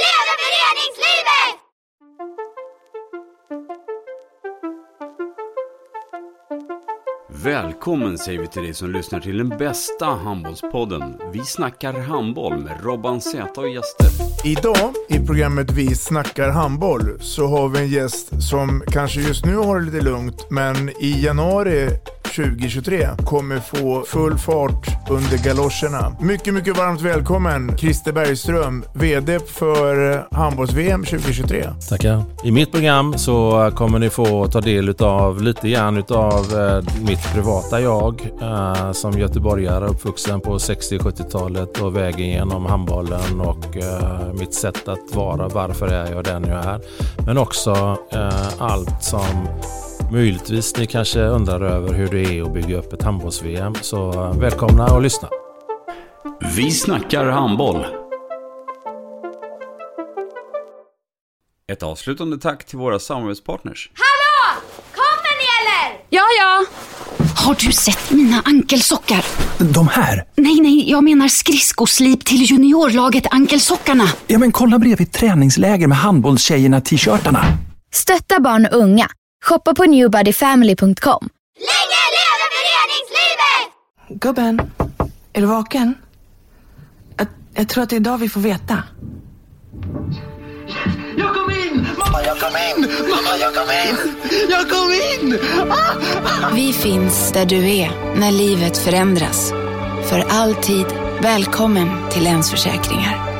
leve föreningslivet! Välkommen säger vi till dig som lyssnar till den bästa handbollspodden. Vi snackar handboll med Robban Z och gäster. Idag i programmet Vi snackar handboll så har vi en gäst som kanske just nu har det lite lugnt men i januari 2023 kommer få full fart under galoscherna. Mycket, mycket varmt välkommen Christer Bergström, VD för handbolls-VM 2023. Tackar. I mitt program så kommer ni få ta del utav lite grann utav eh, mitt privata jag eh, som göteborgare uppvuxen på 60-70-talet och vägen genom handbollen och eh, mitt sätt att vara, varför är jag den jag är. Men också eh, allt som möjligtvis ni kanske undrar över hur det är att bygga upp ett handbolls-VM. Så eh, välkomna och lyssna. Vi snackar handboll. Ett avslutande tack till våra samarbetspartners. Hallå! Kommer ni eller? Ja, ja. Har du sett mina ankelsockar? De här? Nej, nej, jag menar skridskoslip till juniorlaget Ankelsockarna. Ja, men kolla bredvid träningsläger med handbollstjejerna-t-shirtarna. Stötta barn och unga. Shoppa på newbodyfamily.com. Länge leve föreningslivet! Gubben, är du vaken? Jag, jag tror att det är idag vi får veta. Jag kom in! Mamma, jag kom in! Mamma, jag kom in! Jag kom in! Ah! Vi finns där du är när livet förändras. För alltid välkommen till Länsförsäkringar.